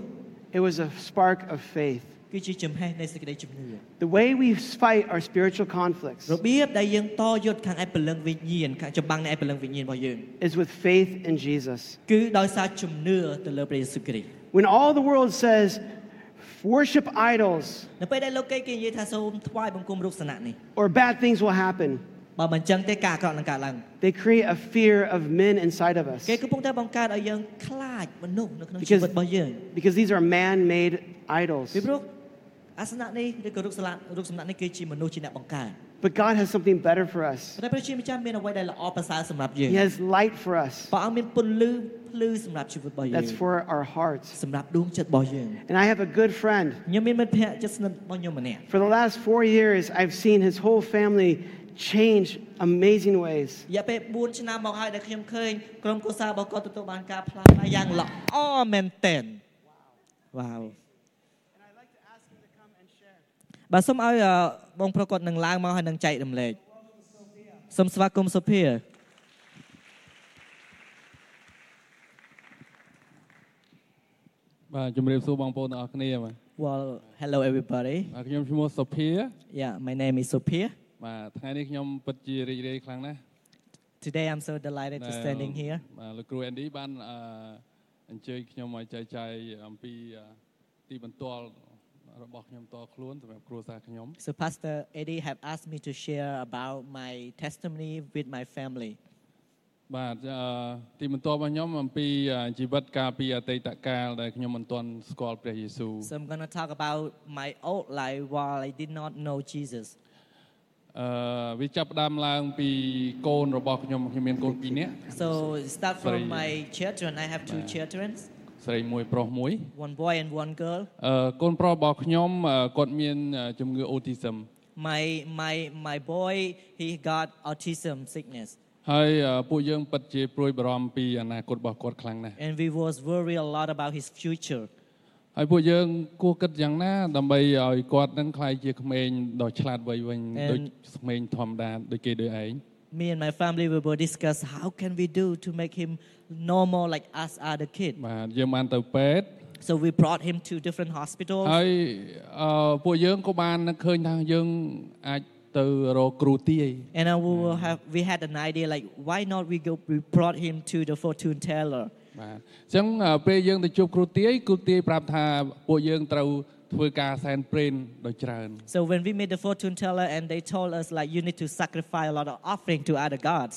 It was a spark of faith.
គឺជាចំហេះនៃសេចក្តីជំនឿ
The way we fight our spiritual conflicts
របៀបដែលយើងតយុទ្ធខាងឯពលឹងវិញ្ញាណខាងចម្បាំងនៃឯពលឹងវិញ្ញាណរបស់យើង
is with faith in Jesus.
គឺដោយសារជំនឿទៅលើព្រះយេស៊ូវគ្រីស្ទ
When all the world says, worship idols
នៅពេលដែលលោកគេគេនិយាយថាសូមថ្វាយបង្គំរូបសនៈនេះ
or bad things will happen,
បើមិនចឹងទេការអាក្រក់នឹងកើតឡើង
they create a fear of men inside of us
គេកំពុងតែបង្កើតឲ្យយើងខ្លាចមនុស្សនៅក្នុង
Because-
ជីវិតរបស់យើង
because these are man made idols.
ពីព្រោះអាសនៈនេះឬក៏រូបសនៈរូបសនៈនេះគឺជាមនុស្សជាអ្នកបង្កើត
But God has something better for us.
ប៉ុន្តែព្រះជាម្ចាស់មានអ្វីដែលល្អប្រសើរសម្រាប់យើង
He has light for us
ព្រះអង្គមានពន្លឺភ្លឺសម្រាប់ជីវិតរបស់យើង
that's for our hearts.
សម្រាប់ដួងចិត្តរបស់យើង
And I have a good friend.
ខ្ញុំមានមិត្តភ័ក្តិជិតស្និទ្ធរបស់ខ្ញុំម្នាក់
For the last four years, I've seen his whole family change amazing ways.
រយៈពេល4ឆ្នាំមកហើយដែលខ្ញុំឃើញក្រុមគ្រួសាររបស់គាត់ទទួលបានការផ្លាស់ប្ដូរយ៉ាងល្អមែនទែនវ៉ាវបាទសូមឲ្យអឺបងប្រុសគាត់នឹងឡើងមកហើយនឹងចែករំលែកសូមស្វាគមន៍សុភា
បាទជំរាបសួរបងប្អូនទាំងអស់គ្នាបាទ
Well hello everybody
បាទខ្ញុំឈ្មោះសុភា
Yeah my name is Sophia
បាទថ្ងៃនេះខ្ញុំពិតជារីករាយខ្លាំងណាស់
Today I'm so delighted to
ដែល
standing here
បាទលោកគ្រូអេនឌីបានអឺអញ្ជើញខ្ញុំមកចែកចាយអំពីអឺទីបន្ទាល់របស់ខ្ញុំតខ្លួនសម្រាប់គ្រួសារខ្ញុំ
So Pastor Eddie have asked me to share about my testimony with my family
បាទអឺទីបន្ទាល់របស់ខ្ញុំអំពីអឺជីវិតកាលពីអតីតកាលដែលខ្ញុំមិនទាន់ស្គាល់ព្រះយេស៊ូវ
So I'm going to talk about my old life while I did not know Jesus.
អឺវាចាប់ផ្ដើមឡើងពីកូនរបស់ខ្ញុំខ្ញុំមានកូន2នាក់
So it start from
Sorry.
my children. I have two
Right.
children,
ស្រីមួយប្រុសមួយ
one boy and one girl.
អឺកូនប្រុសរបស់ខ្ញុំអឺគាត់មានអឺជំងឺ autism
My my my boy he got autism sickness,
ហើយអឺពួកយើងពិតជាព្រួយបារម្ភពីអនាគតរបស់គាត់ខ្លាំងណាស់
and we was worried a lot about his future.
ហើយពួកយើងគួរគិតយ៉ាងណា ដើម្បីឲ្យគាត់នឹងក្លាយជាក្មេងដ៏ឆ្លាតវៃវិញ
And-
ដូចក្មេងធម្មតាដូចគេដូចឯង
Me and my family we will discuss how can we do to make him normal like us other kid.
បាទយើងបានទៅពេទ្យ
So we brought him to different hospitals.
ហើយអឺពួកយើងក៏បាននឹកឃើញថាយើងអាចទៅរកគ្រូទាយ
And I will have, we had an idea like, why not we go, we brought him to the fortune teller.
បាទអញ្ចឹងអឺពេលយើងទៅជួបគ្រូទាយគ្រូទាយប្រាប់ថាពួកយើងត្រូវធ្វើការសែនព្រេនដោយច្រើន
So when we met the fortune teller and they told us like, you need to sacrifice a lot of offering to other gods.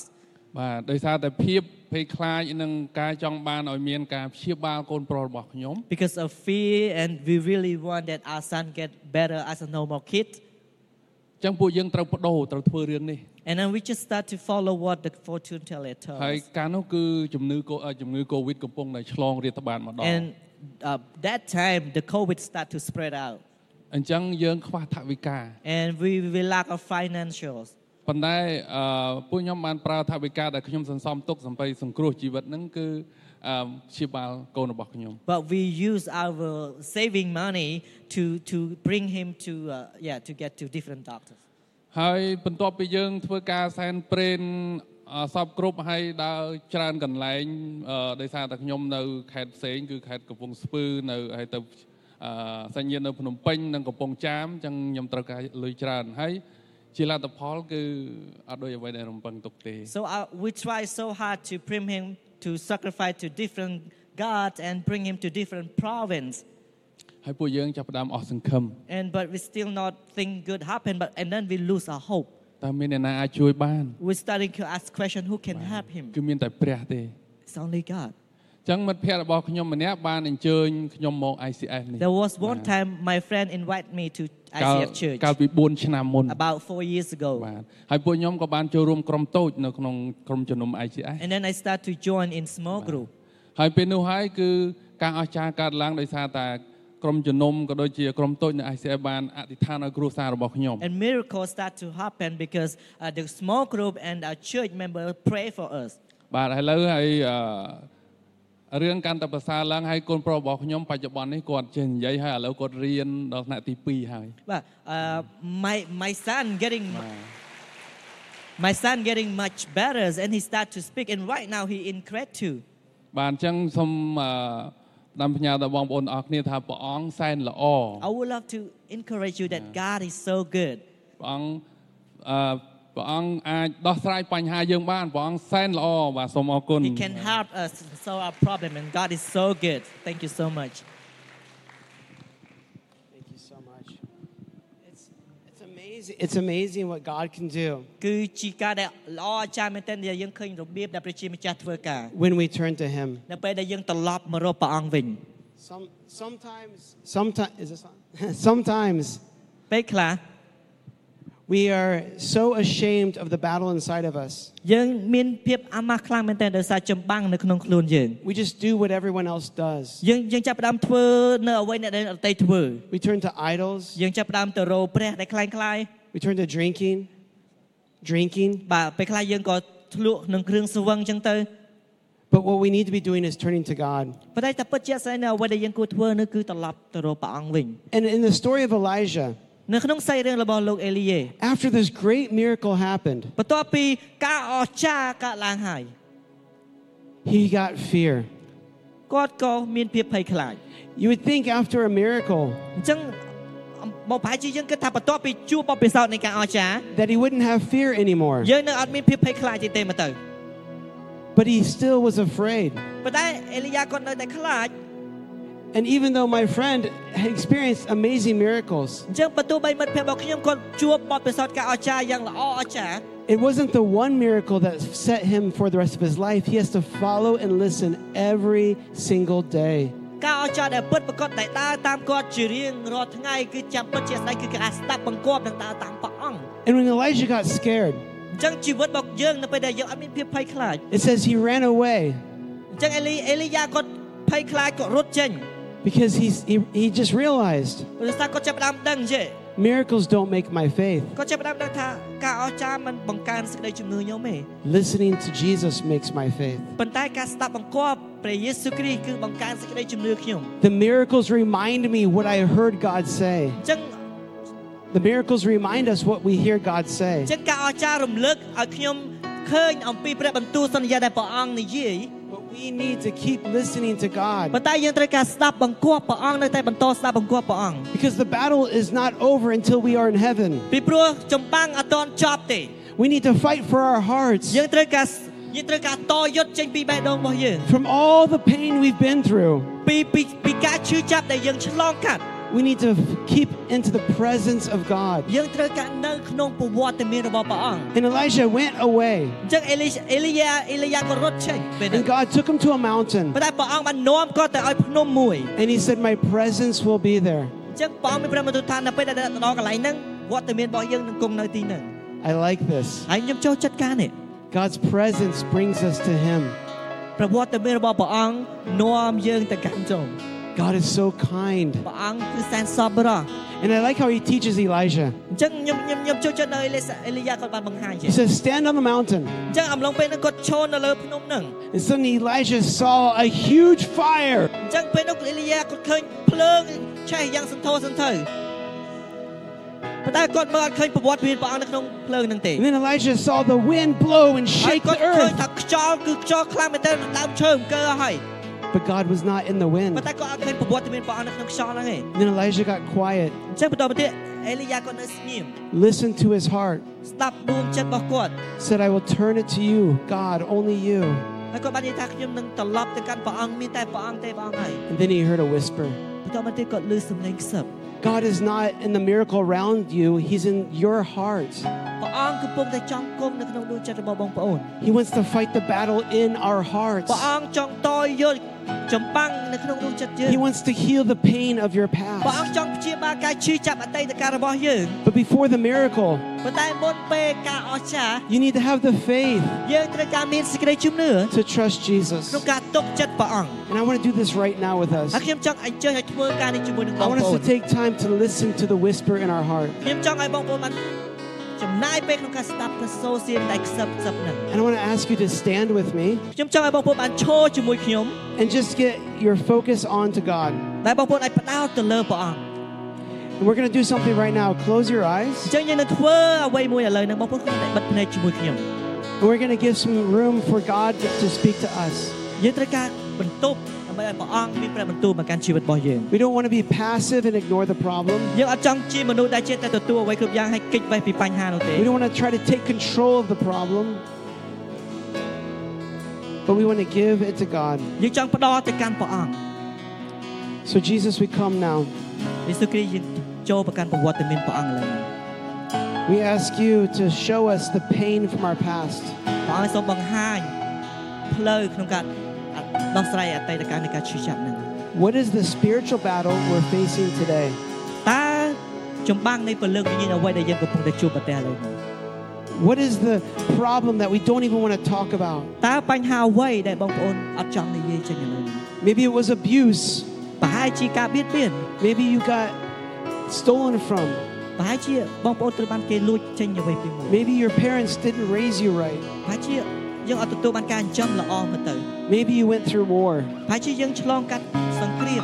បាទដោយសារតែភាពភ័យខ្លាចនឹងការចង់បានឲ្យមានការព្យាបាលកូនប្រុសរបស់ខ្ញុំ
Because of fear and we really want that our son get better as a normal kid.
អញ្ចឹងពួកយើងត្រូវបដូរត្រូវធ្វើរឿងនេះ
And then we just start to follow what the fortune teller told
ហើយ
us.
កាលនោះគឺជំងឺកូអឺជំងឺ Covid កំពុងតែឆ្លងរាតត្បាតម្ដង
And uh, that time the COVID started to spread out
អញ្ចឹងយើងខ្វះថវិកា
and we, we lack of financials.
ប៉ុន្តែអឺពួកខ្ញុំបានប្រើថវិកាដែលខ្ញុំសន្សំទុកសម្រាប់សង្គ្រោះជីវិតហ្នឹងគឺអឺព្យាបាលកូនរបស់ខ្ញុំ
But we use our saving money to, to bring him to, uh, yeah, to get to different doctors.
ហើយបន្ទាប់ពីយើងធ្វើការសែនព្រេនអសពគ្រប់ហើយដើរច្រើនកន្លែងអឺដោយសារតែខ្ញុំនៅខេត្តផ្សេងគឺខេត្តកំពង់ស្ពឺនៅហើយទៅអឺសញ្ញានៅភ្នំពេញនិងកំពង់ចាមអញ្ចឹងខ្ញុំត្រូវការលុយច្រើនហើយជាលទ្ធផលគឺអត់ដូចអ្វីដែលរំពឹងទុកទេ
So uh, we try so hard to bring him to sacrifice to different gods and bring him to different province.
ហើយពួកយើងចាប់ផ្ដើមអស់សង្ឃឹម
And but we still not think good happen. But and then we lose our hope.
តើមានអ្នកណាអាចជួយបាន
We're starting to ask question, who can help him?
គឺមានតែព្រះទេ
It's only God.
អញ្ចឹងមិត្តភ័ក្តិរបស់ខ្ញុំម្នាក់បានអញ្ជើញខ្ញុំមក ICF នេះ
There was one time my friend invited me to
កាល
ICF Church
កាលពី4ឆ្នាំមុន
about four years ago.
បាទហើយពួកខ្ញុំក៏បានចូលរួមក្រុមតូចនៅក្នុងក្រុមជំនុំ ICS
And then I start to join in small group.
ហើយពេលនោះហើយគឺការអស្ចារ្យកើតឡើងដោយសារតែក្រុមជំនុំក៏ដូចជាក្រុមតូចនៅ ICS បានអធិដ្ឋានឲ្យគ្រួសាររបស់ខ្ញុំ
And miracles start to happen because uh, the small group and our church member pray for us.
បាទឥឡូវហើយអឺរឿងកាន់តែប្រសើរឡើងហើយកូនប្រុសរបស់ខ្ញុំបច្ចុប្បន្ននេះគាត់ចេះនិយាយហើយឥឡូវគាត់រៀនដល់ថ្នាក់ទី2ហើយ
But uh, my, my son getting my son getting much better and he start to speak and right now he in grade two.
បាទអញ្ចឹងសូមអឺផ្ដំផ្ញើដល់បងប្អូនអរគ្នាថាព្រះអង្គសែនល្អ
I would love to encourage you that God is so good.
ព្រះអង្គអឺព្រះអង្គអាចដោះស្រាយបញ្ហាយើងបានព្រះអង្គសែនល្អបាទសូមអរគុណ
He can help us solve our problem and God is so good. Thank you so much.
Thank you so much. It's, it's, amazing. it's amazing what God can do
គឺជាការដែលល្អអស្ចារ្យមែនទែនដែលយើងឃើញរបៀបដែលព្រះជាម្ចាស់ធ្វើការ
when we turn to Him.
នៅពេលដែលយើងត្រឡប់មករកព្រះអង្គវិញ
Some, sometimes, sometimes, is this on? sometimes
ពេលខ្លះ
we are so ashamed of the battle inside of us.
យើងមានភាពអាម៉ាស់ខ្លាំងមែនទែនដោយសារចម្បាំងនៅក្នុងខ្លួនយើង
We just do what everyone else does.
យើងយើងចាប់ផ្ដើមធ្វើនៅអ្វីអ្នកដែលអតីតធ្វើ
We turn to idols.
យើងចាប់ផ្ដើមទៅរោព្រះដែលคล้ายคล้าย
We turn to drinking, drinking.
បាទពេលខ្លះយើងក៏ធ្លក់នឹងគ្រឿងស្វឹងអញ្ចឹងទៅ
But what we need to be doing is turning to God.
ប៉ុន្តែតែពិតជាស្អីនៅអ្វីដែលយើងគួរធ្វើនោះគឺត្រឡប់ទៅរកព្រះអង្គវិញ
And in the story of Elijah,
នៅក្នុងសាច់រឿងរបស់លោកអេលីយ៉េ
after this great miracle happened,
បន្ទាប់ពីការអស្ចារ្យកើតឡើងហើយ
he got fear.
គាត់ក៏មានភាពភ័យខ្លាច
You would think after a miracle
អញ្ចឹងមកប្រហែលជាយើងគិតថាបន្ទាប់ពីជួបបបិសោតនៃការអស្ចារ្យ
that he wouldn't have fear anymore,
យើងនៅអត់មានភាពភ័យខ្លាចទេទេមកទៅ
but he still was afraid.
ប៉ុន្តែអេលីយ៉ាគាត់នៅតែខ្លាច
And even though my friend had experienced amazing miracles,
អញ្ចឹងបើទោះបីមិត្តភ័ក្តិរបស់ខ្ញុំគាត់ជួបបទពិសោធន៍ការអស្ចារ្យយ៉ាងល្អអស្ចារ្យ
it wasn't the one miracle that set him for the rest of his life. He has to follow and listen every single day.
ការអស្ចារ្យដែលពិតប្រកបដែលដើរតាមគាត់ជារៀងរាល់ថ្ងៃគឺចាំពិតជាស្ដេចគឺការស្ដាប់បង្គាប់និងដើរតាមព្រះអង្គ
And when Elijah got scared,
អញ្ចឹងជីវិតរបស់យើងនៅពេលដែលយើងអត់មានភាពភ័យខ្លាច
it says he ran away
អញ្ចឹងអេលីអេលីយ៉ាគាត់ភ័យខ្លាចគាត់រត់ចេញ
because he's, he, he just realized
ព្រោះថារគាត់ចាប់ផ្ដើមដឹងជេ
miracles don't make my faith.
គាត់ចាប់ផ្ដើមដឹងថាការអស្ចារ្យមិនបង្កើនសេចក្តីជំនឿខ្ញុំទេ
Listening to Jesus makes my faith.
ប៉ុន្តែការស្ដាប់បង្គាប់ព្រះយេស៊ូវគ្រីស្ទគឺបង្កើនសេចក្តីជំនឿខ្ញុំ
The miracles remind me what I heard God say.
អញ្ចឹង
The miracles remind us what we hear God say.
អញ្ចឹងការអស្ចារ្យរំលឹកឲ្យខ្ញុំឃើញអំពីព្រះបន្ទូលសន្យាដែលព្រះអង្គនិយាយ
But we need to keep listening to God
ប៉ុន្តែយើងត្រូវការស្ដាប់បង្គាប់ព្រះអង្គនៅតែបន្តស្ដាប់បង្គាប់ព្រះអង្គ
because the battle is not over until we are in heaven.
ពីព្រោះចម្បាំងអត់ទាន់ចប់ទេ
We need to fight for our hearts
យើងត្រូវការយើងត្រូវការតយុទ្ធចេញពីបេះដូងរបស់យើង
from all the pain we've been through.
ពីពីពីការឈឺចាប់ដែលយើងឆ្លងកាត់
We need to f- keep into the presence of God.
យើងត្រូវការនៅក្នុងប្រវត្តិមានរបស់ព្រះអង្គ
And Elijah went away,
អញ្ចឹងអេលីអេលីយ៉ាអេលីយ៉ាក៏រត់ចេញពេលហ្នឹង
and God took him to a mountain,
ប៉ុន្តែព្រះអង្គបាននាំគាត់ទៅឲ្យភ្នំមួយ
and he said, My presence will be there.
អញ្ចឹងព្រះអង្គមានព្រះបន្ទូលថានៅពេលដែលដល់ដល់កន្លែងហ្នឹងវត្តមានរបស់យើងនឹងគង់នៅទីហ្នឹង
I like this.
ហើយខ្ញុំចូលចិត្តការនេះ
God's presence brings us to him.
ប្រវត្តិមានរបស់ព្រះអង្គនាំយើងទៅកាន់ចូល
God is so kind.
ព្រះអង្គគឺសែនសប្បុរស
And I like how he teaches Elijah.
អញ្ចឹងខ្ញុំខ្ញុំខ្ញុំចូលចិត្តនៅអេលីសាអេលីយ៉ាគាត់បានបង្ហាញជា
He says, Stand on the mountain.
អញ្ចឹងអំឡុងពេលហ្នឹងគាត់ឈរនៅលើភ្នំហ្នឹង
And suddenly Elijah saw a huge fire.
អញ្ចឹងពេលនោះអេលីយ៉ាគាត់ឃើញភ្លើងឆេះយ៉ាងសន្ធោសន្ធៅប៉ុន្តែគាត់មើលអត់ឃើញប្រវត្តិមានព្រះអង្គនៅក្នុងភ្លើងហ្នឹងទេ
And then Elijah saw the wind blow and
ហើយ
shake
គាត់
the
ឃើញ
earth.
ថាខ្យល់គឺខ្យល់ខ្លាំងមែនទែនដើមឈើអង្គើហើយ
But God was not in the
ប៉ុ
wind.
ន្តែគាត់អត់ឃើញប្រវត្តិមានព្រះអង្គនៅក្នុងខ្យល់ហ្នឹងទេ
And then Elijah got quiet,
អញ្ចឹងបន្តមកទៀតអេលីយ៉ាគាត់នៅស្ងៀម
listened to his heart,
ស្ដាប់ដួងចិត្តរបស់គាត់
said, I will turn it to you, God, only you.
ហើយគាត់បាននិយាយថាខ្ញុំនឹងត្រឡប់ទៅកាន់ព្រះអង្គមានតែព្រះអង្គទេព្រះអង្គហើយ
And then he heard a whisper.
បន្តមកទៀតគាត់លឺសំឡេងខ្សឹប
God is not in the miracle around you, He's in your heart.
ព្រះអង្គកំពុងតែចង់គុំនៅក្នុងដួងចិត្តរបស់បងប្អូន
He wants to fight the battle in our
ព្រះ
hearts.
អង្គចង់តយល់ចម្បាំងនៅក្នុងដួងចិត្តយើង
He wants to heal the pain of your
ព្រះអង្គ
past.
ចង់ព្យាបាលការឈឺចាប់អតីតកាលរបស់យើង
But before the miracle,
ប៉ុន្តែមុនពេលការអស្ចារ្យ
you need to have the faith
យើងត្រូវការមានសេចក្តីជំនឿ
to trust Jesus.
ក្នុងការទុកចិត្តព្រះអង្គ
And I want to do this right now with us.
ហើយខ្ញុំចង់អញ្ជើញឲ្យធ្វើការនេះជាមួយនឹងប
I
ង
want
ប្អូ
us
ន
to take time to listen to the whisper in our heart.
ខ្ញុំចង់ឲ្យបងប្អូនបានចំណាយពេលក្នុងការស្ដាប់ព្រះសូរសៀងដែលខ្សឹបខ្សឹបហ្នឹង
And I want to ask you to stand with me
ខ្ញុំចង់ឲ្យបងប្អូនបានឈរជាមួយខ្ញុំ
and just get your focus onto God.
ដែលបងប្អូនអាចផ្ដោតទៅលើព្រះអង្គ
And we're going to do something right now. Close your
អញ្
eyes.
ចឹងយើងនឹងធ្វើអ្វីមួយឥឡូវហ្នឹងបងប្អូនគ្រាន់តែបិទភ្នែកជាមួយខ្ញុំ
And we're going to give some room for God to speak to us.
យើងត្រូវការបន្ទប់ដើម្បីឲ្យព្រះអង្គមានព្រះបន្ទូលមកកាន់ជីវិតរបស់យើង
We don't want to be passive and ignore the problem.
យើងអត់ចង់ជាមនុស្សដែលចេះតែទទួលអ្វីគ្រប់យ៉ាងហើយគេចវេះពីបញ្ហានោះទេ
We don't want to try to take control of the problem. But we want to give it to God.
យើងចង់ផ្ដោតទៅកាន់ព្រះអង្គ
So, Jesus, we come now.
យេស៊ូវគ្រីស្ទយើងចូលប្រកាន់ប្រវត្តិមានព្រះអង្គឡើយ
We ask you to show us the pain from our past.
ព្រះអង្គសូមបង្ហាញផ្លូវក្នុងការដោះស្រាយអតីតកាលនៃការឈឺចាប់ហ្នឹង
What is the spiritual battle we're facing today?
តើចម្បាំងនៃពលឹងវិញ្ញាណអ្វីដែលយើងកំពុងតែជួបប្រទះឥឡូវហ្នឹង
What is the problem that we don't even want to talk about?
តើបញ្ហាអ្វីដែលបងប្អូនអត់ចង់និយាយចេញឥឡូវហ្នឹង
Maybe it was abuse.
ប្រហែលជាការបៀតបៀន
Maybe you got stolen from.
ប្រហែលជាបងប្អូនត្រូវបានគេលួចចេញអ្វីពីមួយ
Maybe your parents didn't raise you right.
ប្រហែលជាយើងអត់ទទួលបានការចិញ្ចឹមល្អមកទៅ
Maybe you went through war.
ប្រហែលជាយើងឆ្លងកាត់សង្គ្រាម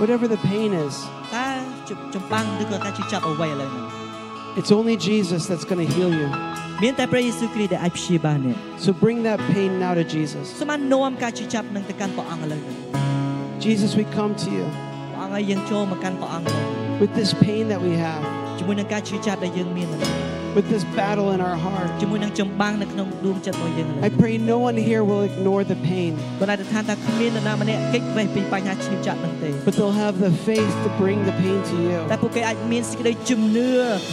Whatever the pain is,
តើចម្បាំងឬក៏ការជិះចាប់អ្វីឥឡូវហ្នឹង
it's only Jesus that's going to heal you.
មានតែព្រះយេស៊ូវគ្រីស្ទដែលអាចព្យាបាលអ្នក
So bring that pain now to Jesus.
សូមបាននាំការជិះចាប់នឹងទៅកាន់ព្រះអង្គឥឡូវហ្នឹង
Jesus, we come to you
ព្រះអង្គឲ្យយើងចូលមកកាន់ព្រះអង្គឥឡូវ
with this pain that we have,
ជាមួយនឹងការជិះចាប់ដែលយើងមានឥឡូវ
with this battle in our heart.
ជាមួយនឹងចម្បាំងនៅក្នុងដួងចិត្តរបស់យើងឥឡូវ
I pray no one here will ignore the pain,
បណ្ដាលថាថាគ្មាននរណាម្នាក់គេចវេះពីបញ្ហាឈឺចាប់នឹងទេ
but they'll have the faith to bring the pain to
តែ
you,
ពួកគេអាចមានសេចក្តីជំនឿ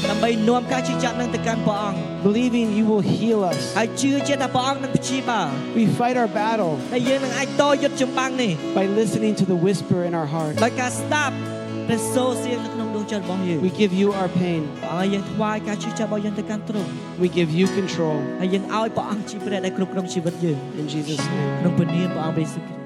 ដើម្បីនាំការជឿជាក់នឹងទៅកាន់ព្រះអង្គ
believing you will heal us.
ហើយជឿជាក់ថាព្រះអង្គនឹងព្យាបាល
We fight our battle
ហើយយើងនឹងអាចតយុទ្ធចម្បាំងនេះ
by listening to the whisper in our heart.
ដោយការស្ដាប់ព្រះសូរសៀងនៅក្នុងដួង ចិត្តរបស់យើង
We give you our pain.
ហើយយើងថ្វាយការជឿជាក់របស់យើងទៅកាន់ទ្រង់
We give you control.
ហើយយើងឲ្យព្រះអង្គជាព្រះដែលគ្រប់គ្រងជីវិតយើង
In Jesus' name.
ក្នុងព្រះនាមព្រះអង្គព្រះយេស៊ូវគ្រីស្ទ